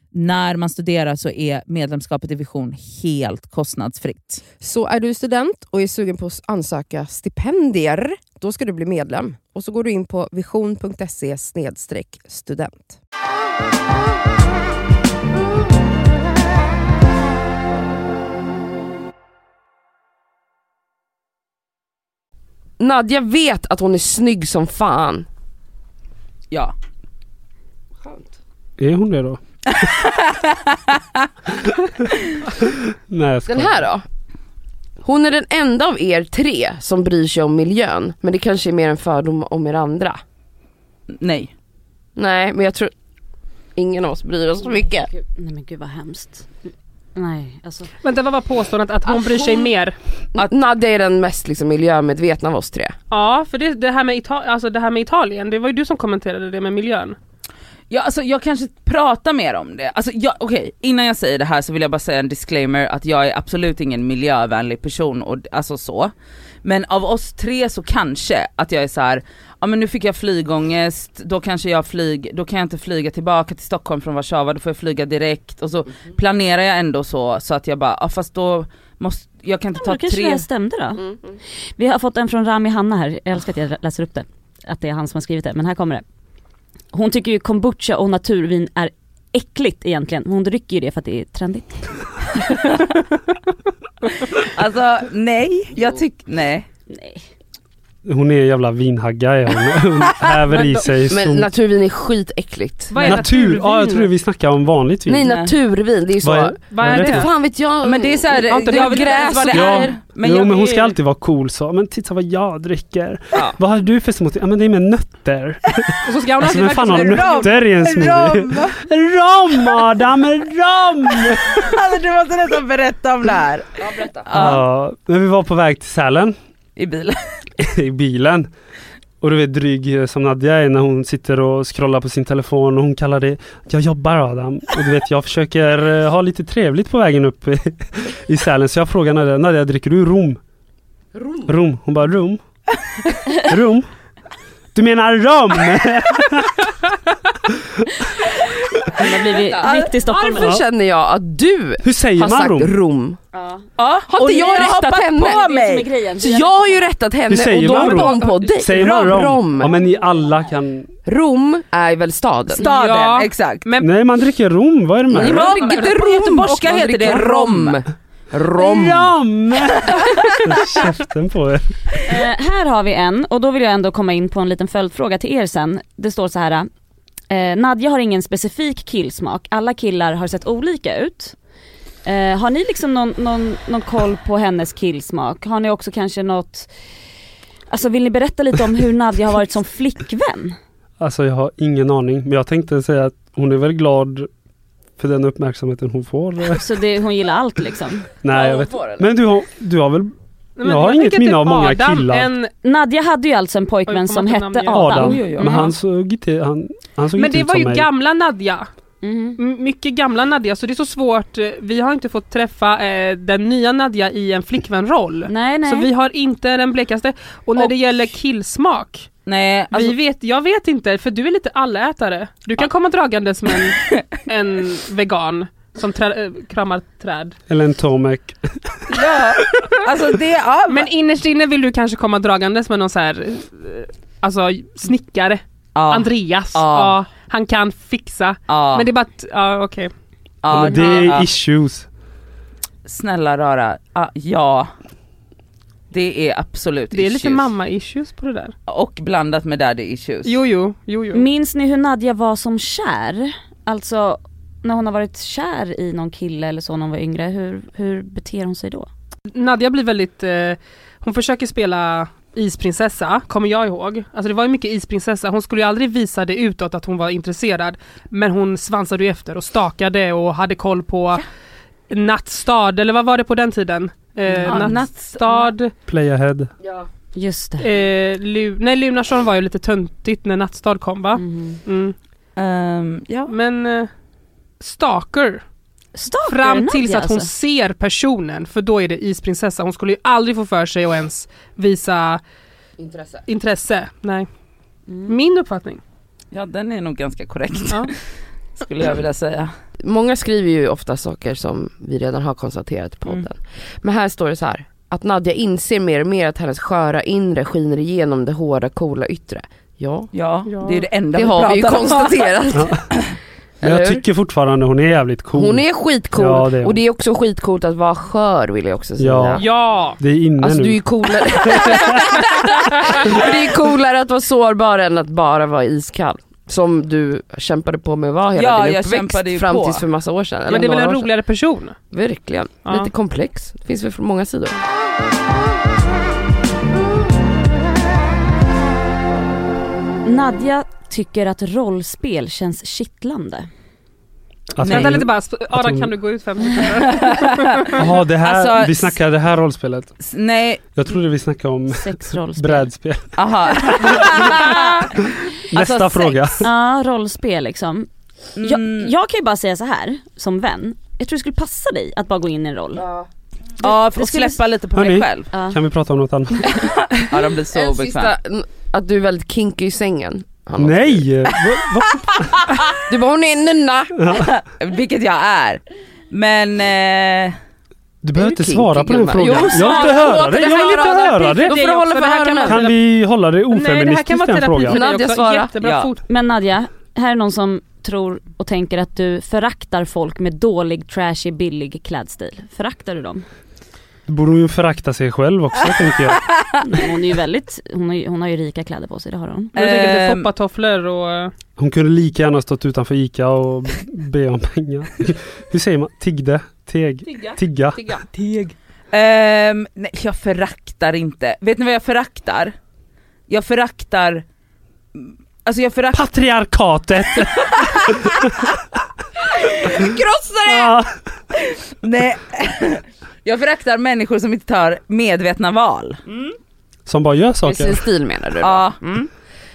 när man studerar så är medlemskapet i Vision helt kostnadsfritt.
Så är du student och är sugen på att ansöka stipendier, då ska du bli medlem. Och så går du in på vision.se snedstreck student.
Nadja vet att hon är snygg som fan.
Ja.
Är hon det då? Nej, jag skojar.
Den här då? Hon är den enda av er tre som bryr sig om miljön, men det kanske är mer en fördom om er andra.
Nej.
Nej, men jag tror ingen av oss bryr oss så mycket.
Nej men gud vad hemskt. Nej alltså.
Vänta vad var påståendet? Att hon bryr sig mer?
Att Nadja är den mest liksom, miljömedvetna av oss tre.
Ja för det, det, här med Ita- alltså det här med Italien, det var ju du som kommenterade det med miljön.
Ja, alltså, jag kanske pratar mer om det. Alltså, jag, okej, Innan jag säger det här så vill jag bara säga en disclaimer att jag är absolut ingen miljövänlig person. Och, alltså så. Men av oss tre så kanske att jag är så här, ja men nu fick jag flygångest, då kanske jag flyg, då kan jag inte flyga tillbaka till Stockholm från Warszawa, då får jag flyga direkt. Och så planerar jag ändå så, så att jag bara, ja fast då måste, jag kan inte
Då
ta
kanske det
tre.
här stämde då.
Mm,
Vi har fått en från Rami Hanna här, jag älskar att jag läser upp det. Att det är han som har skrivit det, men här kommer det. Hon tycker ju kombucha och naturvin är äckligt egentligen. Hon dricker ju det för att det är trendigt.
Alltså nej, jag tycker, nej.
Nej.
Hon är en jävla vinhagga är hon. Hon häver i sig
Men
som...
naturvin är skitäckligt.
Vad är
natur. Ja, jag tror vi snackar om vanligt vin.
Nej naturvin, det är ju så.
Vad är-
Vad är
Jag vet
det?
inte.
Fan vet jag.
Men det är så här,
Ja, inte
jag
det
vet inte ens
gräs
vad det
och-
Ja.
är. Men
jo,
jag
men hon
är-
ska alltid vara cool så. Men titta vad jag dricker.
Ja.
Vad har du för smoothie? Ja men det är med nötter.
Och så ska hon
Alltså
alltid
vem fan
verka
har
som en
nötter i en smoothie?
Rom!
Rom Adam, rom!
Alltså, du måste nästan berätta om det här.
Ja, men vi var på väg till Sälen
I bilen.
i bilen. Och du vet dryg som Nadja är när hon sitter och scrollar på sin telefon och hon kallar det Jag jobbar Adam. Och du vet jag försöker eh, ha lite trevligt på vägen upp i, i Sälen så jag frågar Nadja, Nadja dricker du rom? Rom? Hon bara rom? Rom? Du menar rom?
Hon har blivit riktig stockholmare.
Varför känner jag att du
Hur säger
har
man
sagt
rom?
Rom?
Ja,
Har inte jag rättat henne?
det är det som är grejen.
Så jag har ju rättat
Hur
henne
säger
och då
man
håller
rom?
hon på dig.
Säger man rom? Ja
Rom.
men ni alla kan...
Rom är väl staden?
Staden,
Ja.
exakt.
Men
Nej man dricker rom, vad är det med
Man
det?
Rom.
dricker inte
På
rom
göteborgska
och man
heter det
dricker
rom.
Rom.
Rom! Käften på er.
Eh, här har vi en och då vill jag ändå komma in på en liten följdfråga till er sen. Det står så här. Eh, Nadja har ingen specifik killsmak, alla killar har sett olika ut. Eh, har ni liksom någon, någon, någon koll på hennes killsmak? Har ni också kanske något, alltså vill ni berätta lite om hur Nadja har varit som flickvän?
Alltså jag har ingen aning men jag tänkte säga att hon är väl glad för den uppmärksamheten hon får.
Så Alltså det, hon gillar allt liksom.
Nej jag vet Men du har, du har väl
Men
Jag har
tänker
inget
typ
minne av många
Adam,
killar.
En,
Nadja hade ju alltså en
Oj, kommer
pojkvän som
inte
hette
namnge.
Adam.
Adam?
Oj, oj, oj.
Men han såg inte, han, han såg
men
inte
det
ut
var
som
ju
mig.
gamla Nadja.
Mhm.
M- Mycket gamla Nadja, så det är så svårt. Eh, Vi har inte fått träffa eh, den nya Nadja i en flickvänroll.
Nej nej.
Så vi har inte den blekaste. Och när
Och-
det gäller killsmak,
Nej, alltså,
vi vet, jag vet inte, för du är lite allätare. Du kan komma dragandes med en, en vegan som trä, eh, kramar träd.
Eller en Tomek.
ja, alltså det, ja,
Men innerst inne vill du kanske komma dragandes med någon så här, eh, alltså snickare,
ja,
Andreas.
Ja.
Ja, han kan fixa.
ja,
Men det är bara att, ja okej.
ja,
men det är
ja.
issues.
Snälla rara, ja, ja. Det är absolut
Det är lite
issues.
mamma-issues på det där.
Och blandat med daddy issues.
Jo, jo, jo, jo.
Minns ni hur Nadja var som kär? Alltså när hon har varit kär i någon kille eller så när hon var yngre, hur, hur beter hon sig då?
Nadja blir väldigt, eh, hon försöker spela isprinsessa, kommer jag ihåg. Alltså det var ju mycket isprinsessa, hon skulle ju aldrig visa det utåt att hon var intresserad. Men hon svansade ju efter och stakade och hade koll på nattstad, eller vad var det på den tiden? Eh,
Ja,
nattstad,
Play ahead.
Just det.
eh, Lu- nej Lunarsson var ju lite töntigt när nattstad kom va?
Mm.
Mm.
Ehm, ja.
Men eh, stalker,
Stalker
fram
Nadja
tills att hon
alltså.
ser personen för då är det isprinsessa. Hon skulle ju aldrig få för sig att ens visa
Intresse.
intresse. Nej.
Mm.
Min uppfattning.
ja den är nog ganska korrekt
Ja.
skulle jag vilja säga.
Många skriver ju ofta saker som vi redan har konstaterat i podden.
Mm.
Men här står det så här. Att Nadja inser mer och mer att hennes sköra inre skiner igenom det hårda coola yttre. Ja,
Ja,
Ja.
det är det enda
det
vi
har vi ju
pratar om.
konstaterat.
Men
Eller
jag
hur?
tycker fortfarande hon är jävligt cool.
Hon är skitcool
Ja, det är hon.
och det är också skitcoolt att vara skör vill jag också säga.
Ja.
Ja!
Det är inne
Alltså
nu.
du är ju coolare. och det är coolare att vara sårbar än att bara vara iskall. Som du kämpade på med att vara hela
Ja,
din
jag
uppväxt
kämpade ju
fram
på.
tills för massa år sedan. eller
Men det är väl
några
en
år sedan.
roligare person?
Verkligen.
Ja.
Lite komplex. Det finns väl från många sidor.
Nadja tycker att rollspel känns kittlande.
Att
Nej.
Vänta
hon-
lite bara, sp- Adam
hon-
kan du gå ut fem minuter?
Jaha, det här,
Alltså,
vi snackar det här rollspelet.
S- Nej,
Jag trodde vi snackade om
Sexrollspel.
brädspel.
aha.
Nästa
sex.
fråga.
Ja, rollspel liksom.
Mm.
Jag, jag kan ju bara säga så här som vän. Jag tror det skulle passa dig att bara gå in i en roll.
Ja,
det
och
skulle-
släppa lite på
Hörni.
mig själv.
Ja.
Kan vi prata om något annat?
Ja, de blir så
en
obekväma.
sista, n- att du är väldigt kinky i sängen. har någon skrivit.
Nej! Va, va?
Du bara hon är en nunna.
Vilket jag är. Men eh,
Du behöver inte
kinky,
svara på den
gumman?
frågan.
Jo,
Jag vill
svara
inte höra
på
det,
det här,
jag vill inte
Adam.
höra
Det
det.
Då får du hålla för
Det här kan
öronen.
man-
Kan vi hålla det
Nej det här kan
ofeministiskt
vara
den
terapi
frågan?
för dig
Nadja
också.
svara.
Jättebra
Ja.
fort.
Men Nadja, här är någon som tror och tänker att du föraktar folk med dålig, trashy, billig klädstil. Föraktar du dem?
Då borde hon ju förakta sig själv också tänker jag.
Hon är ju väldigt, hon har ju, hon har ju rika kläder på sig, det har hon.
Men Jag tänker lite
Ehm.
foppatofflor och...
Hon kunde lika gärna stått utanför ICA och be om pengar. Hur säger man? Tiggde? Teg? Tigga?
Ehm, nej, jag föraktar inte. Vet ni vad jag föraktar? Jag föraktar... Alltså jag föraktar...
Patriarkatet!
Krossare!
Ah,
Nej. Jag föraktar människor som inte tar medvetna val.
som bara gör
I sin
saker.
stil menar du? då?
Ja.
Mm.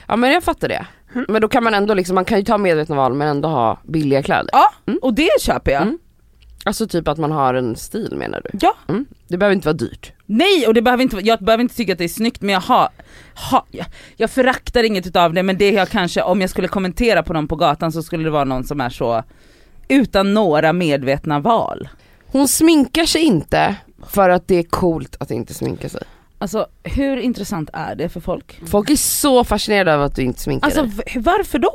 Ja men jag fattar det. Men
Mm.
då kan man ändå liksom, man kan ju ta medvetna val men ändå ha billiga kläder.
Ja, och det köper jag.
Mm. Alltså typ att man har en stil menar du?
Ja.
Mm. Det behöver inte vara dyrt.
Nej och det behöver inte, jag behöver inte tycka att det är snyggt men jag har, ha, jag, jag föraktar inget utav det men det jag kanske, om jag skulle kommentera på någon på gatan så skulle det vara någon som är så utan några medvetna val.
Hon sminkar sig inte för att det är coolt att inte sminka sig.
Alltså hur intressant är det för folk?
Folk är så fascinerade av att du inte sminkar
Alltså
dig.
v- varför då?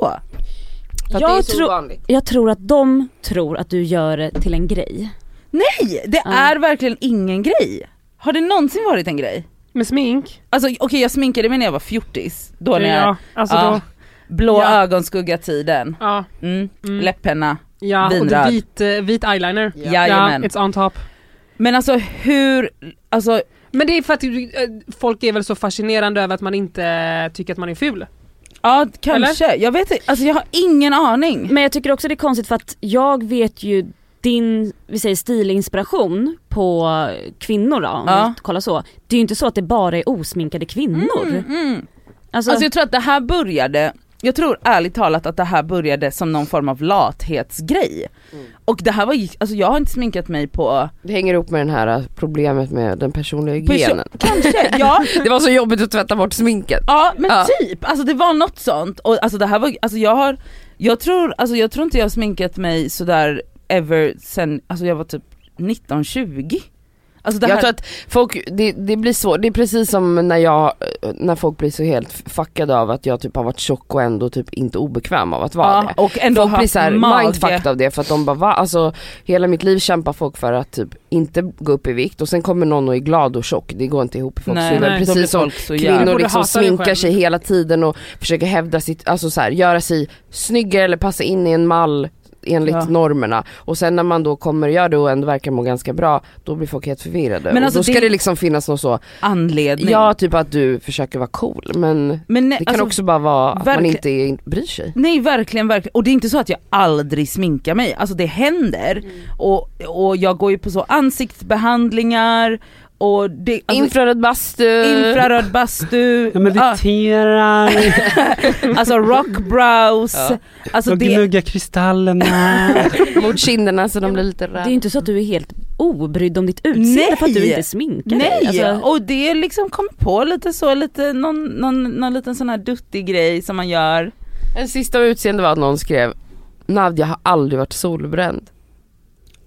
För att
jag
det är så
tror-
ovanligt.
Jag tror att de tror att du gör det till en grej.
Nej det
Ja.
är verkligen ingen grej. Har det någonsin varit en grej?
Med smink?
Alltså okej jag sminkade mig när jag var fjortis, då när jag,
ja, alltså
ja.
då,
blå
Ja.
ögonskugga tiden,
ja.
mm.
Mm.
läppenna.
Ja,
Vinröd.
och det vit, eh, vit eyeliner.
Ja. Jajamän.
it's on top.
Men alltså hur, alltså
Men det är för att eh, folk är väl så fascinerande över att man inte eh, tycker att man är ful.
Ja kanske, jag vet inte, alltså jag har ingen aning.
Men jag tycker också det är konstigt för att jag vet ju din, vi säger stilinspiration på kvinnor då, om
Ja.
vi kollar så. Det är ju inte så att det bara är osminkade kvinnor.
Mm.
Alltså,
Alltså jag tror att det här började, jag tror ärligt talat att det här började som någon form av lathetsgrej. Och det här var, ju- alltså jag har inte sminkat mig på,
Det hänger ihop med den här eh, problemet med den personliga
Person-
hygienen.
kanske, ja,
Det var så jobbigt att tvätta bort sminket.
ja men
Ja.
typ, alltså det var något sånt. Och alltså det här var, alltså jag har, jag tror, alltså jag tror inte jag har sminkat mig sådär ever sen, alltså jag var typ 1920. Alltså det
Jag
här,
tror att folk, det, det blir svårt, det är precis som när jag, äh, när folk blir så helt fuckade av att jag typ har varit tjock och ändå typ inte obekväm av att vara det.
ja, och ändå
folk blir
haft
såhär
mage.
mindfucked av det för att de bara va? Alltså hela mitt liv kämpar folk för att typ inte gå upp i vikt och sen kommer någon och är glad och tjock, det går inte ihop i folks
Nej,
huvuden.
nej, då
blir
Precis som
folk så jävla-
kvinnor
borde
liksom
hata dig
sminkar
själv.
sig hela tiden och försöker hävda sitt, alltså så här, göra sig snyggare eller passa in i en mall enligt
Ja.
normerna och sen när man då kommer och gör det och ändå verkar må ganska bra då blir folk helt förvirrade.
Men
Men
alltså,
då ska
det-
det... liksom finnas något så,
Anledning.
ja typ att du försöker vara cool men det
men nej,
kan
alltså,
också bara vara att man
verkligen-
inte är, bryr sig.
Nej verkligen, verkligen. Och det är inte så att jag aldrig sminkar mig, alltså det händer.
Mm.
Och, och jag går ju på så ansiktsbehandlingar och det, alltså,
Infraröd bastu!
infraröd bastu,
Jag mediterar,
ah, alltså rockbrows,
Ja.
alltså
jag
det,
gnuggar kristallerna.
mot kinderna så de blir lite
det
röda.
är ju inte så att du är helt obrydd om ditt utseende för att du
Nej.
inte sminkar dig.
nej!
Alltså,
Och det liksom kom på lite så, lite, någon, någon, någon liten sån här duttig grej som man gör.
En sista av utseende var att någon skrev Nadja har aldrig varit solbränd.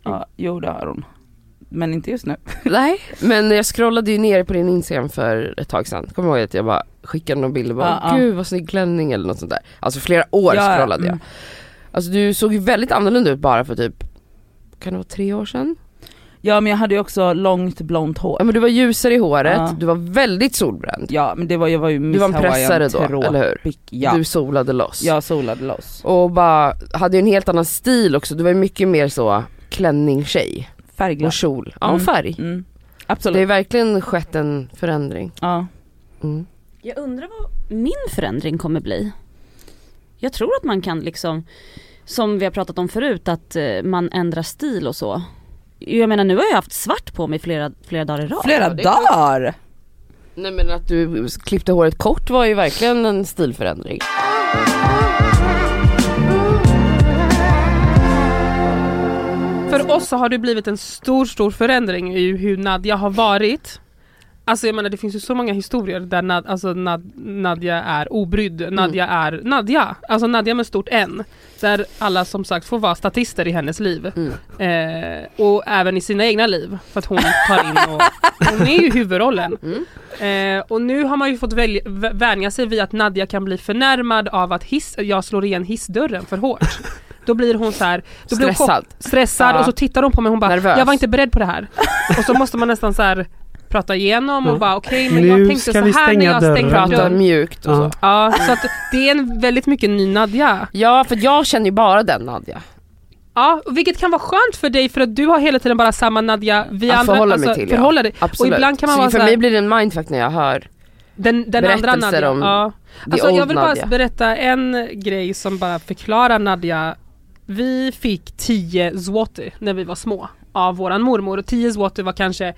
Ja, jo det har hon. Men inte just nu.
Nej. Men jag scrollade ju ner på din Instagram för ett tag sedan. Kommer du ihåg att jag bara skickade någon bild och bara
Ja, ja.
gud vad snygg klänning eller något sånt där. Alltså flera år
Ja, ja,
scrollade jag.
mm.
Alltså du såg ju väldigt annorlunda ut bara för typ kan det vara tre år sedan?
Ja men jag hade ju också långt blont hår.
Ja men du var ljusare i håret,
Ja.
du var väldigt solbränd.
Ja men det var, jag var ju
Du
Miss
var en pressare då,
Hawaiian-tråkig.
eller hur?
Ja.
Du solade loss.
Jag solade loss.
Och bara hade ju en helt annan stil också, du var ju mycket mer så klänning-tjej
Färgglad.
och kjol. Ja och
Mm.
färg.
Mm.
Så det
Absolut.
har verkligen skett en förändring.
Ja.
Mm.
jag undrar vad min förändring kommer bli. Jag tror att man kan liksom, som vi har pratat om förut, att eh, man ändrar stil och så. Jag menar nu har jag haft svart på mig flera, flera dagar i rad.
Flera
det är
dagar!
Nej men att du klippte håret kort var ju verkligen en stilförändring.
För oss så har det blivit en stor, stor förändring i hur Nadja har varit. Alltså jag menar det finns ju så många historier där Nad, alltså Nad, Nadja är obrydd, Nadja är Nadja. Alltså Nadja med stort N. Där alla som sagt får vara statister i hennes liv. Eh, och även i sina egna liv. För att hon tar in och, hon är ju huvudrollen. Eh, och nu har man ju fått välja, vä- vänja sig vid att Nadja kan bli förnärmad av att hiss, jag slår igen hissdörren för hårt. Då blir hon så här, då blir hon chock-
Stressad.
stressad
Ja.
och så tittar de på mig och hon bara
Nervös.
jag var inte beredd på det här. Och så måste man nästan så här prata igenom
Mm.
och
Ja.
bara okej men jag
Nu
tänkte
ska
så
vi
här när
stänga
jag stängde
dörren.
Prata
dörren.
mjukt och
Ja.
så.
Ja så att det är en väldigt mycket ny Nadja.
Ja för jag känner ju bara den Nadja.
Ja och vilket kan vara skönt för dig för att du har hela tiden bara samma Nadja. Vi
Att
andra, alltså,
förhålla mig till, ja.
förhålla dig.
Absolut.
Och ibland kan man
så
vara
för
så här-
mig blir det en mindfuck när jag hör
Den, den andra
Berättelser
Nadja.
om
ja.
the
alltså, jag
old
vill bara
Nadja.
berätta en grej som bara förklarar Nadja. Vi fick 10 złoty när vi var små. av våran mormor och 10 zloty var kanske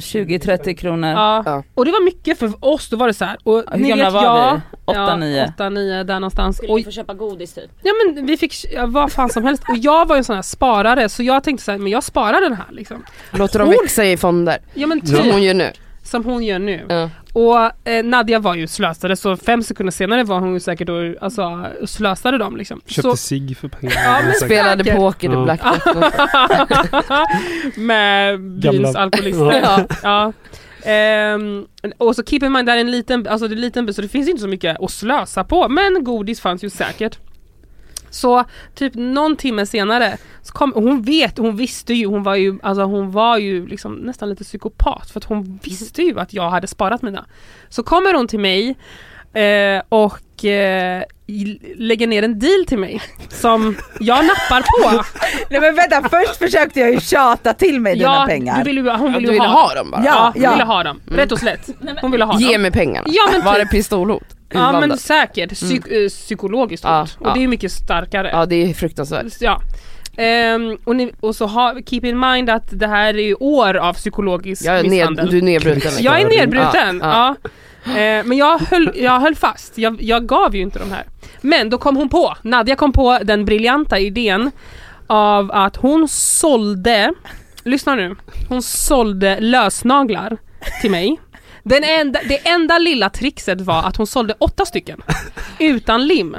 20-30 kronor.
Ja.
Ja.
och det var mycket för oss, då var det så här. Och
Hur
ni
gamla
vet,
var
jag,
vi? Åtta, nio?
8, 9 där någonstans.
Skulle
Och,
vi få köpa godis typ?
ja men vi fick ja, vad fan som helst och jag var ju en sån här sparare så jag tänkte så här, men jag sparar den här liksom.
Låter de växa i fonder,
Ja men typ,
som hon gör nu.
som hon gör nu.
Ja.
Och eh, Nadja var ju slösare så fem sekunder senare var hon ju säkert och alltså, slösade dem liksom.
Köpte
Så,
cigg för
Ja,
pengarna.
men
Säkert.
Spelade
Säkert.
poker
Ja.
i Blackjack.
med byns
Gamla-
alkoholister. ja. ja. Ehm, och så keep in mind, det här är en liten, alltså det är en liten by så det finns inte så mycket att slösa på men godis fanns ju säkert. Så typ någon timme senare, så kom, och hon vet, hon visste ju, hon var ju, alltså hon var ju liksom nästan lite psykopat för att hon visste ju att jag hade sparat mina. Så kommer hon till mig eh, och eh, i- lägger ner en deal till mig som jag nappar på.
Nej men vänta, först försökte jag ju tjata till mig dina pengar.
Du vill, ju- hon
Du
vill ju
ville
ha,
ha dem bara.
Ja,
Ja,
ja.
hon ville ha dem.
Mm.
Rätt och slätt. Hon ville ha
Ge
dem.
mig pengarna.
Ja, men
Var det
typ.
pistolhot?
Ja men
Inblandat?
säkert, Psyk- eh, psykologiskt
Mm. Ja,
hot.
ja.
Och det är ju mycket starkare.
ja det är fruktansvärt.
Ja. Ehm, och, ni, och så ha, keep in mind att det här är ju år av psykologisk
Jag är ned,
misshandel.
du är nedbruten.
Krigs-
jag är nedbruten,
Ja,
ja. Eh, men jag höll, jag höll fast, jag, jag gav ju inte de här. Men då kom hon på, Nadja kom på den briljanta idén av att hon sålde, lyssna nu, hon sålde lösnaglar till mig. Den enda, det enda lilla trixet var att hon sålde åtta stycken utan lim.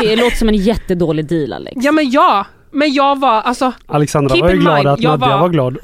Det låter som en jättedålig deal Alex.
Ja men ja, men jag var alltså
Alexandra
Keep
var ju
in
glad
mind,
att
jag
Nadja var,
var-
glad.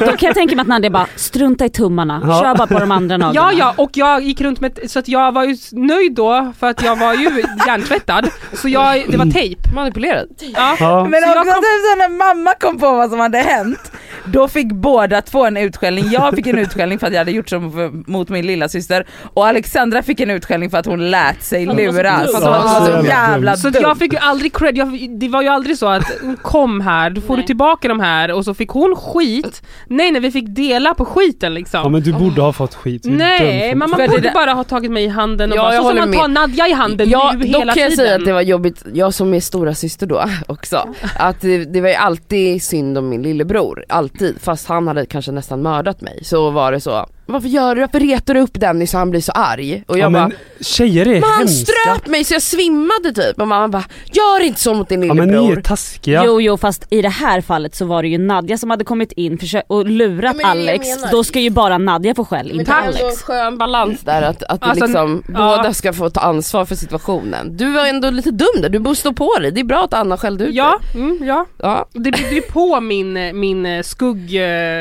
Då kan jag tänka mig att Nadia bara, strunta i tummarna,
Ja.
kör bara på de andra naglarna.
Ja ja, och jag gick runt med, så att jag var ju s- nöjd då för att jag var ju hjärntvättad. Så jag, det var tejp.
Manipulerad.
Ja.
Ja.
Så
Men också
jag kom-
typ så när mamma kom på vad som hade hänt, då fick båda två en utskällning. Jag fick en utskällning för att jag hade gjort som för, mot min lilla syster och Alexandra fick en utskällning för att hon lät sig
hon var så
luras.
dum.
För att hon var
Ja,
så jävla
Så
dum.
att jag fick ju aldrig cred, jag, det var ju aldrig så att "Mm, kom här, då får du
Nej.
tillbaka de här och så fick hon skit. Nej nej vi fick dela på skiten
ja
liksom.
men du borde ha fått skit. Du är
Nej
dum för-
men man
För det
borde
där-
bara ha tagit mig i handen och
Ja,
bara,
jag
så som
håller
man
med.
tar Nadja i handen
Ja,
nu
dock
hela
kan jag säga att det
tiden.
var jobbigt, jag som är stora syster då också, att det, det var ju alltid synd om min lillebror, alltid. Fast han hade kanske nästan mördat mig, så var det så, varför gör du, varför retar du upp Dennis så han blir så arg? Och jag
ja,
bara,
men tjejer är
men han
hemska.
ströp mig så jag svimmade typ. Och mamma bara, gör inte så mot din
Ja men ni är
lillebror.
taskiga.
Jo jo fast i det här fallet så var det ju Nadja som hade kommit in försö- och lurat
men det är det jag
Alex.
menar.
Då ska ju bara Nadja få skäll,
Men
inte
det är
Alex.
ändå en skön balans där att, att det
Alltså,
liksom,
ja.
båda ska få ta ansvar för situationen. Du var ändå lite dum där, du borde stå på dig. Det är bra att Anna skällde ut
Ja,
dig.
mm, ja.
Ja.
Det byggde ju på min, min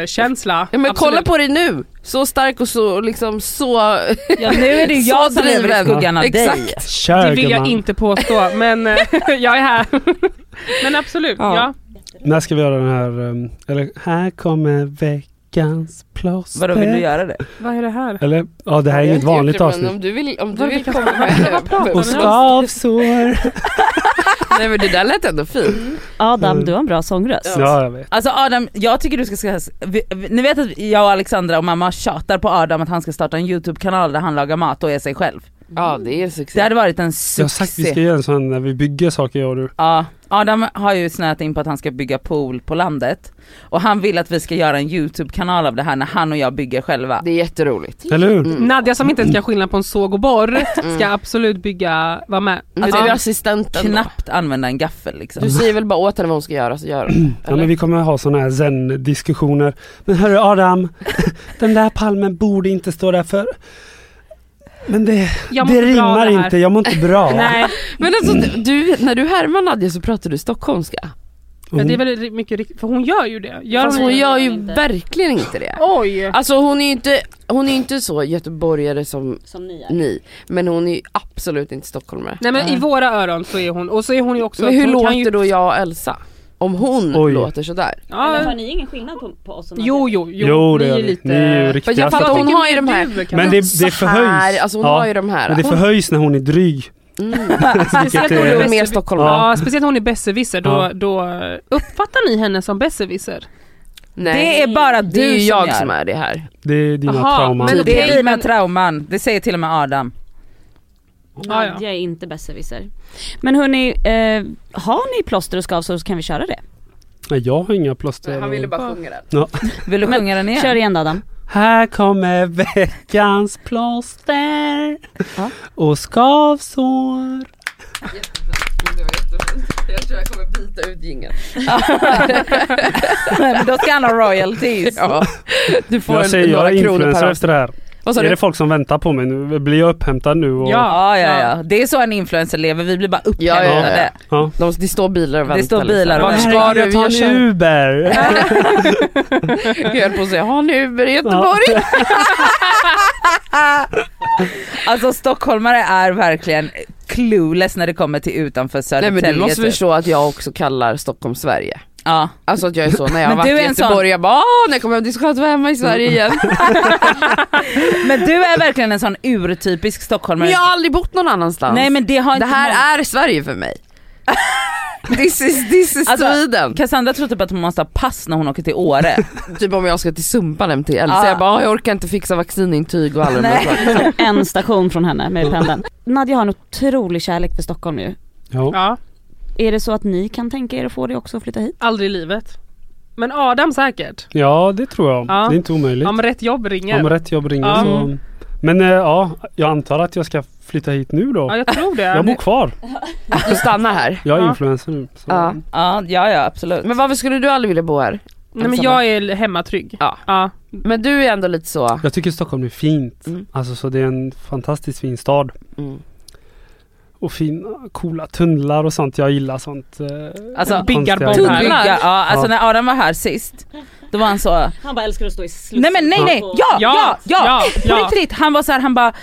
skuggkänsla.
Ja, men kolla
Absolut.
på dig nu, så stark och så liksom så...
Ja, nu är det ju jag
så
som lever i
driven.
skuggan av
Exakt.
dig.
Kör
Det vill jag
gumman.
inte påstå men eh, jag är här. men absolut, ja. ja.
När ska vi göra den här, um, eller här kommer veckans plåster.
Vadå vill du göra det?
Vad är det här?
Eller, ja det här är ju ett vanligt avsnitt.
Om du vill, om du
Vad
vill
vilka-
komma med...
Vad pratar
Och
vi om?
skavsår.
Nej men det där lät ändå fint.
Mm.
Adam, du har en bra sångröst.
Ja jag vet.
Alltså Adam, jag tycker du ska, ska vi, vi- ni vet att jag och Alexandra och mamma tjatar på Adam att han ska starta en YouTube-kanal där han lagar mat och är sig själv.
Ja det är
Det
succé.
hade varit en
Jag har sagt vi ska
succé.
göra en sån när vi bygger saker jag och du.
Ja, Adam har ju snöat in på att han ska bygga pool på landet och han vill att vi ska göra en YouTube-kanal av det här när han och jag bygger själva.
Det är jätteroligt. Mm.
Eller hur?
Nadja som inte ens kan skilja på en såg och borr ska absolut bygga, vara med.
Men
Alltså,
du är assistenten då.
Knappt använda en gaffel liksom.
Du säger väl bara åt henne vad hon ska göra så gör hon
Ja, men
eller?
vi kommer ha såna här zen-diskussioner. Men hörru Adam, den där palmen borde inte stå där för... Men det,
Jag mår
det
inte bra
rimmar
av det här.
inte, Oh. jag mår inte bra. Mm.
Nej,
Men alltså du, när du härmar Nadja så pratar du stockholmska.
men det är väl mycket riktigt, för hon gör ju det. Gör
Fast
hon
hon
det
gör
gör
ju
hon inte.
verkligen inte det.
Oj!
Alltså hon är ju inte, hon är ju inte så göteborgare som
Som ni är.
ni, men hon är ju absolut inte stockholmare.
Nej men i våra öron så är hon, och så är hon ju också...
Men hur
hon
låter
kan ju,
då jag och Elsa? Om hon
Oj.
låter sådär.
Men har
Ja,
ni ingen skillnad på, på oss och Nadja?
jo jo, jo,
Jo, det
ni
gör
är ju
vi.
lite...
Ni är ju
Fast jag
riktiga
fattar,
Vad
hon
stockholmare.
tycker
har ju
du,
de här-
Karin?
Men det, det
Så här,
förhöjs.
alltså hon
Ja,
har ju de här.
Men det förhöjs när hon är dryg. Alltså,
Mm.
Vilket
Speciellt
är-
när
Hon
hon
är
är
mer
besserwisser.
stockholmare.
Ja, speciellt när hon är besserwisser, då,
Ja.
då uppfattar ni henne som besserwisser?
Nej,
Det är bara
det är
du
ju
som
jag
gör.
som är det här.
Det är dina
Aha,
trauman.
men
Det är
Okej,
dina
men-
trauman, det säger till och med Adam.
Ja, ja.
Nadja är inte besserwisser. Men hörni, eh, har ni plåster och skavsår så kan vi köra det.
Nej, jag har inga plåster.
Han ville bara sjunga den.
Vill du sjunga den igen?
Kör igen då Adam.
Här kommer veckans plåster
Ja.
och skavsår.
Det var jättefint. Jag tror jag kommer byta ut jingeln.
Men då ska han ha royalties.
Ja. Du får
Jag säger
en,
jag är
några kronor per
influencer
avsnitt.
efter det här.
Vad sa
Är
du?
det folk som väntar på mig nu? Blir jag upphämtad nu? Och,
Ja, ja, ja. Det är så en influencer lever, vi blir bara
Ja,
upphämtade.
ja, ja.
Ja.
De, det står bilar och
Det
väntar. liksom.
står bilar och
Var
Var
ska
ska
jag
du?
ta
Jag
en
kör-
Uber?
Jag höll på att säga, har ni Uber i Göteborg?
Alltså stockholmare är verkligen clueless när det kommer till utanför
Nej
Södertälje.
men du måste
typ.
förstå att jag också kallar Stockholm Sverige.
Ja.
Alltså att jag är så, när jag har
Men
varit i
du är en sån-
Göteborg, jag bara åh, när jag kommer hem, det är så skönt att vara hemma i Sverige igen.
Men du är verkligen en sån urtypisk stockholmare.
Men jag har aldrig bott någon annanstans.
Nej men det har
det
inte många-
här är Sverige för mig. this is, this is
Alltså,
Sweden.
Cassandra tror typ att hon måste ha pass när hon åker till Åre.
Typ om jag ska till Sumpan till eller
Ja.
så jag bara, "Ah, jag orkar inte fixa vaccinintyg och alla de där
Nej.
sakerna.
En station från henne med pendeln. Nadja har en otrolig kärlek för Stockholm nu.
Ja.
Ja,
Är det så att ni kan tänka er att få det också och flytta hit?
aldrig i livet. Men Adam säkert.
ja, det tror jag.
Ja.
Det är inte omöjligt.
Om rätt jobb ringer.
Om rätt jobb ringer
Ja.
så.
Mm.
Men eh, ja, jag antar att jag ska flytta hit nu då.
Ja, jag tror det.
Jag bor kvar.
Du stannar här.
Jag är
Ja.
influencer nu. Så.
Ja.
ja, ja, ja absolut.
Men varför skulle du aldrig vilja bo här?
Nej, men jag är hemmatrygg.
Ja.
ja.
Men du är ändå lite så,
Jag tycker Stockholm är fint.
Mm.
Alltså så det är en fantastiskt fin stad.
mm.
Och fina, coola tunnlar och sånt. Jag gillar sånt. eh,
Alltså,
Biggar
konstiga
bombar.
grejer.
Bygga, ja, alltså
Ja.
när Adam var här sist, då var han så
Han bara älskar att stå i slussen.
Nej men nej nej, ja, ja, ja!
ja,
På
ja.
riktigt, han var så här, han bara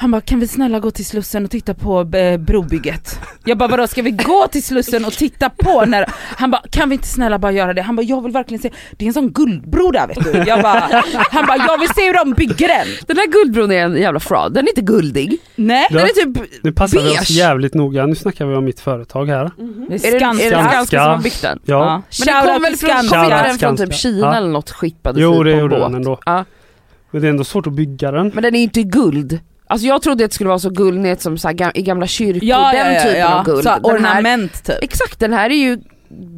han bara kan vi snälla gå till Slussen och titta på eh, brobygget? Jag bara vadå ska vi gå till Slussen och titta på när... Han bara kan vi inte snälla bara göra det? Han bara jag vill verkligen se, det är en sån guldbro där vet du. Jag bara, han bara jag vill se hur de bygger den.
Den där guldbron är en jävla fraud, den är inte guldig.
Nej.
Ja.
Den är typ,
Nu passar vi oss
Beige. Mm.
jävligt noga. Nu snackar vi om mitt företag här.
är det, är det
Skanska.
Skanska som har
Skanska.
byggt den?
Ja.
Men den kom väl från,
Skanska.
kom den från typ
Skanska.
Kina
Ja.
eller något skippades
Jo,
hit
det
på en
gjorde
båt.
den ändå.
Ja.
Men det är ändå svårt att bygga den.
Men den är ju inte i guld. Alltså jag trodde att det skulle vara så guldnät som så här, gam- i gamla kyrkor,
Ja,
den
ja, ja,
typen
ja.
av guld.
Så här,
den här,
ornament typ.
exakt, den här är ju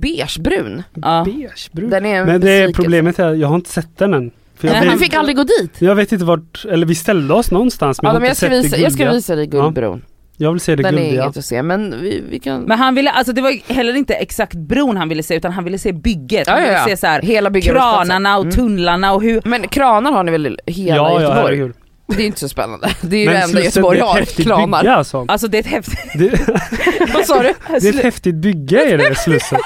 beigebrun.
Ja.
Beigebrun.
Den är en
Men det är
besvikelse.
problemet är jag har inte sett den än. För jag,
Nej,
Men
vet,
Du fick aldrig gå dit.
jag vet inte vart, eller vi ställde oss någonstans men
Adam,
jag har
jag,
inte
ska
sett
visa,
det
jag ska
guldiga.
visa dig guldbron.
Jag vill se det
den är
guldiga.
inget att se men vi, vi kan...
Men han ville, alltså det var ju heller inte exakt bron han ville se utan han ville se bygget. Han
Ja, ja,
ville
ja.
se så här,
hela byggarbetsplatsen.
kranarna och
Mm.
tunnlarna och hur...
Men kranar har ni väl i hela
ja, ja,
Göteborg?
herregud.
det är ju inte så spännande. Det är ju det
Men
enda
Slussen,
Göteborg
det är ett
har,
häftigt
kranar.
Bygge, alltså.
Alltså det är ett häftigt
det,
Vad sa du?
det är ett häftigt bygge är det Slussen.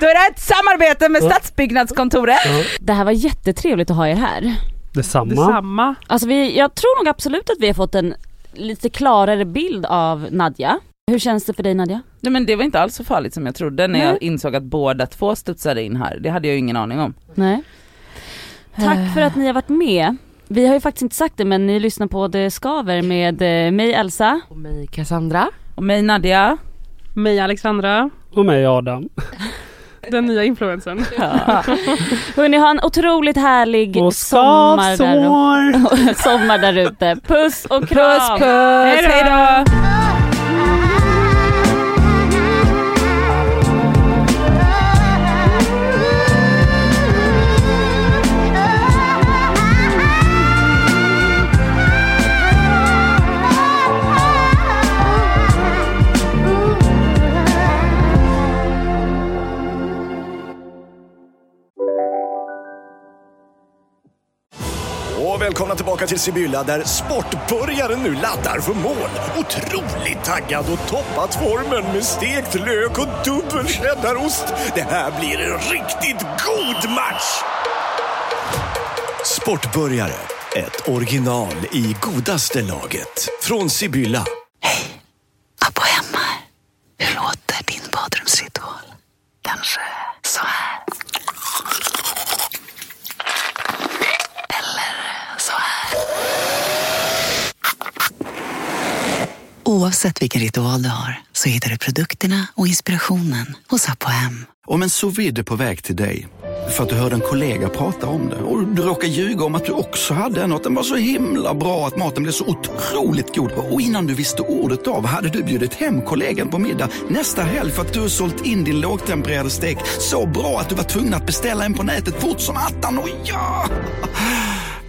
Då är det här ett samarbete med Stadsbyggnadskontoret.
Det här var jättetrevligt att ha er här.
Detsamma.
Detsamma.
Alltså vi, jag tror nog absolut att vi har fått en lite klarare bild av Nadja. Hur känns det för dig Nadja?
Nej men det var inte alls så farligt som jag trodde när
Nej.
jag insåg att båda två studsade in här. Det hade jag ju ingen aning om.
Nej. Tack för att ni har varit med. Vi har ju faktiskt inte sagt det men ni lyssnar på Det skaver med eh, mig Elsa.
Och mig Cassandra.
Och mig Nadja.
Mia Alexandra,
Och mig Adam.
den nya influensen.
Hörni, ha en otroligt härlig
Och
sommar där,
skavsår.
sommar där ute. Puss och kram!
Puss puss,
Hejdå.
hejdå!
Och välkomna tillbaka till Sibylla där sportbörjaren nu laddar för mål. Otroligt taggad och toppat formen med stekt lök och dubbel cheddarost. Det här blir en riktigt god match! Sportbörjare, ett original i godaste laget. Från Sibylla.
Abba hemma. Hur låter din badrumsritual? Kanske så här. Eller så här. Oavsett vilken ritual du har så hittar du produkterna och inspirationen hos Apohem.
Om en sous vide är på väg till dig
För att du hörde en kollega prata om det och du råkade ljuga om att du också hade en och att den var så himla bra att maten blev så otroligt god. Och innan du visste ordet av hade du bjudit hem kollegan på middag nästa helg för att du sålt in din lågtempererade stek så bra att du var tvungen att beställa en på nätet fort som attan. Och ja!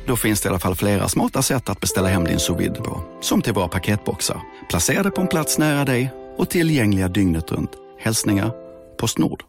Då finns det i alla fall flera smarta sätt att beställa hem din sous vide på. Som till våra paketboxar. Placerade på en plats nära dig och tillgängliga dygnet runt. Hälsningar Postnord.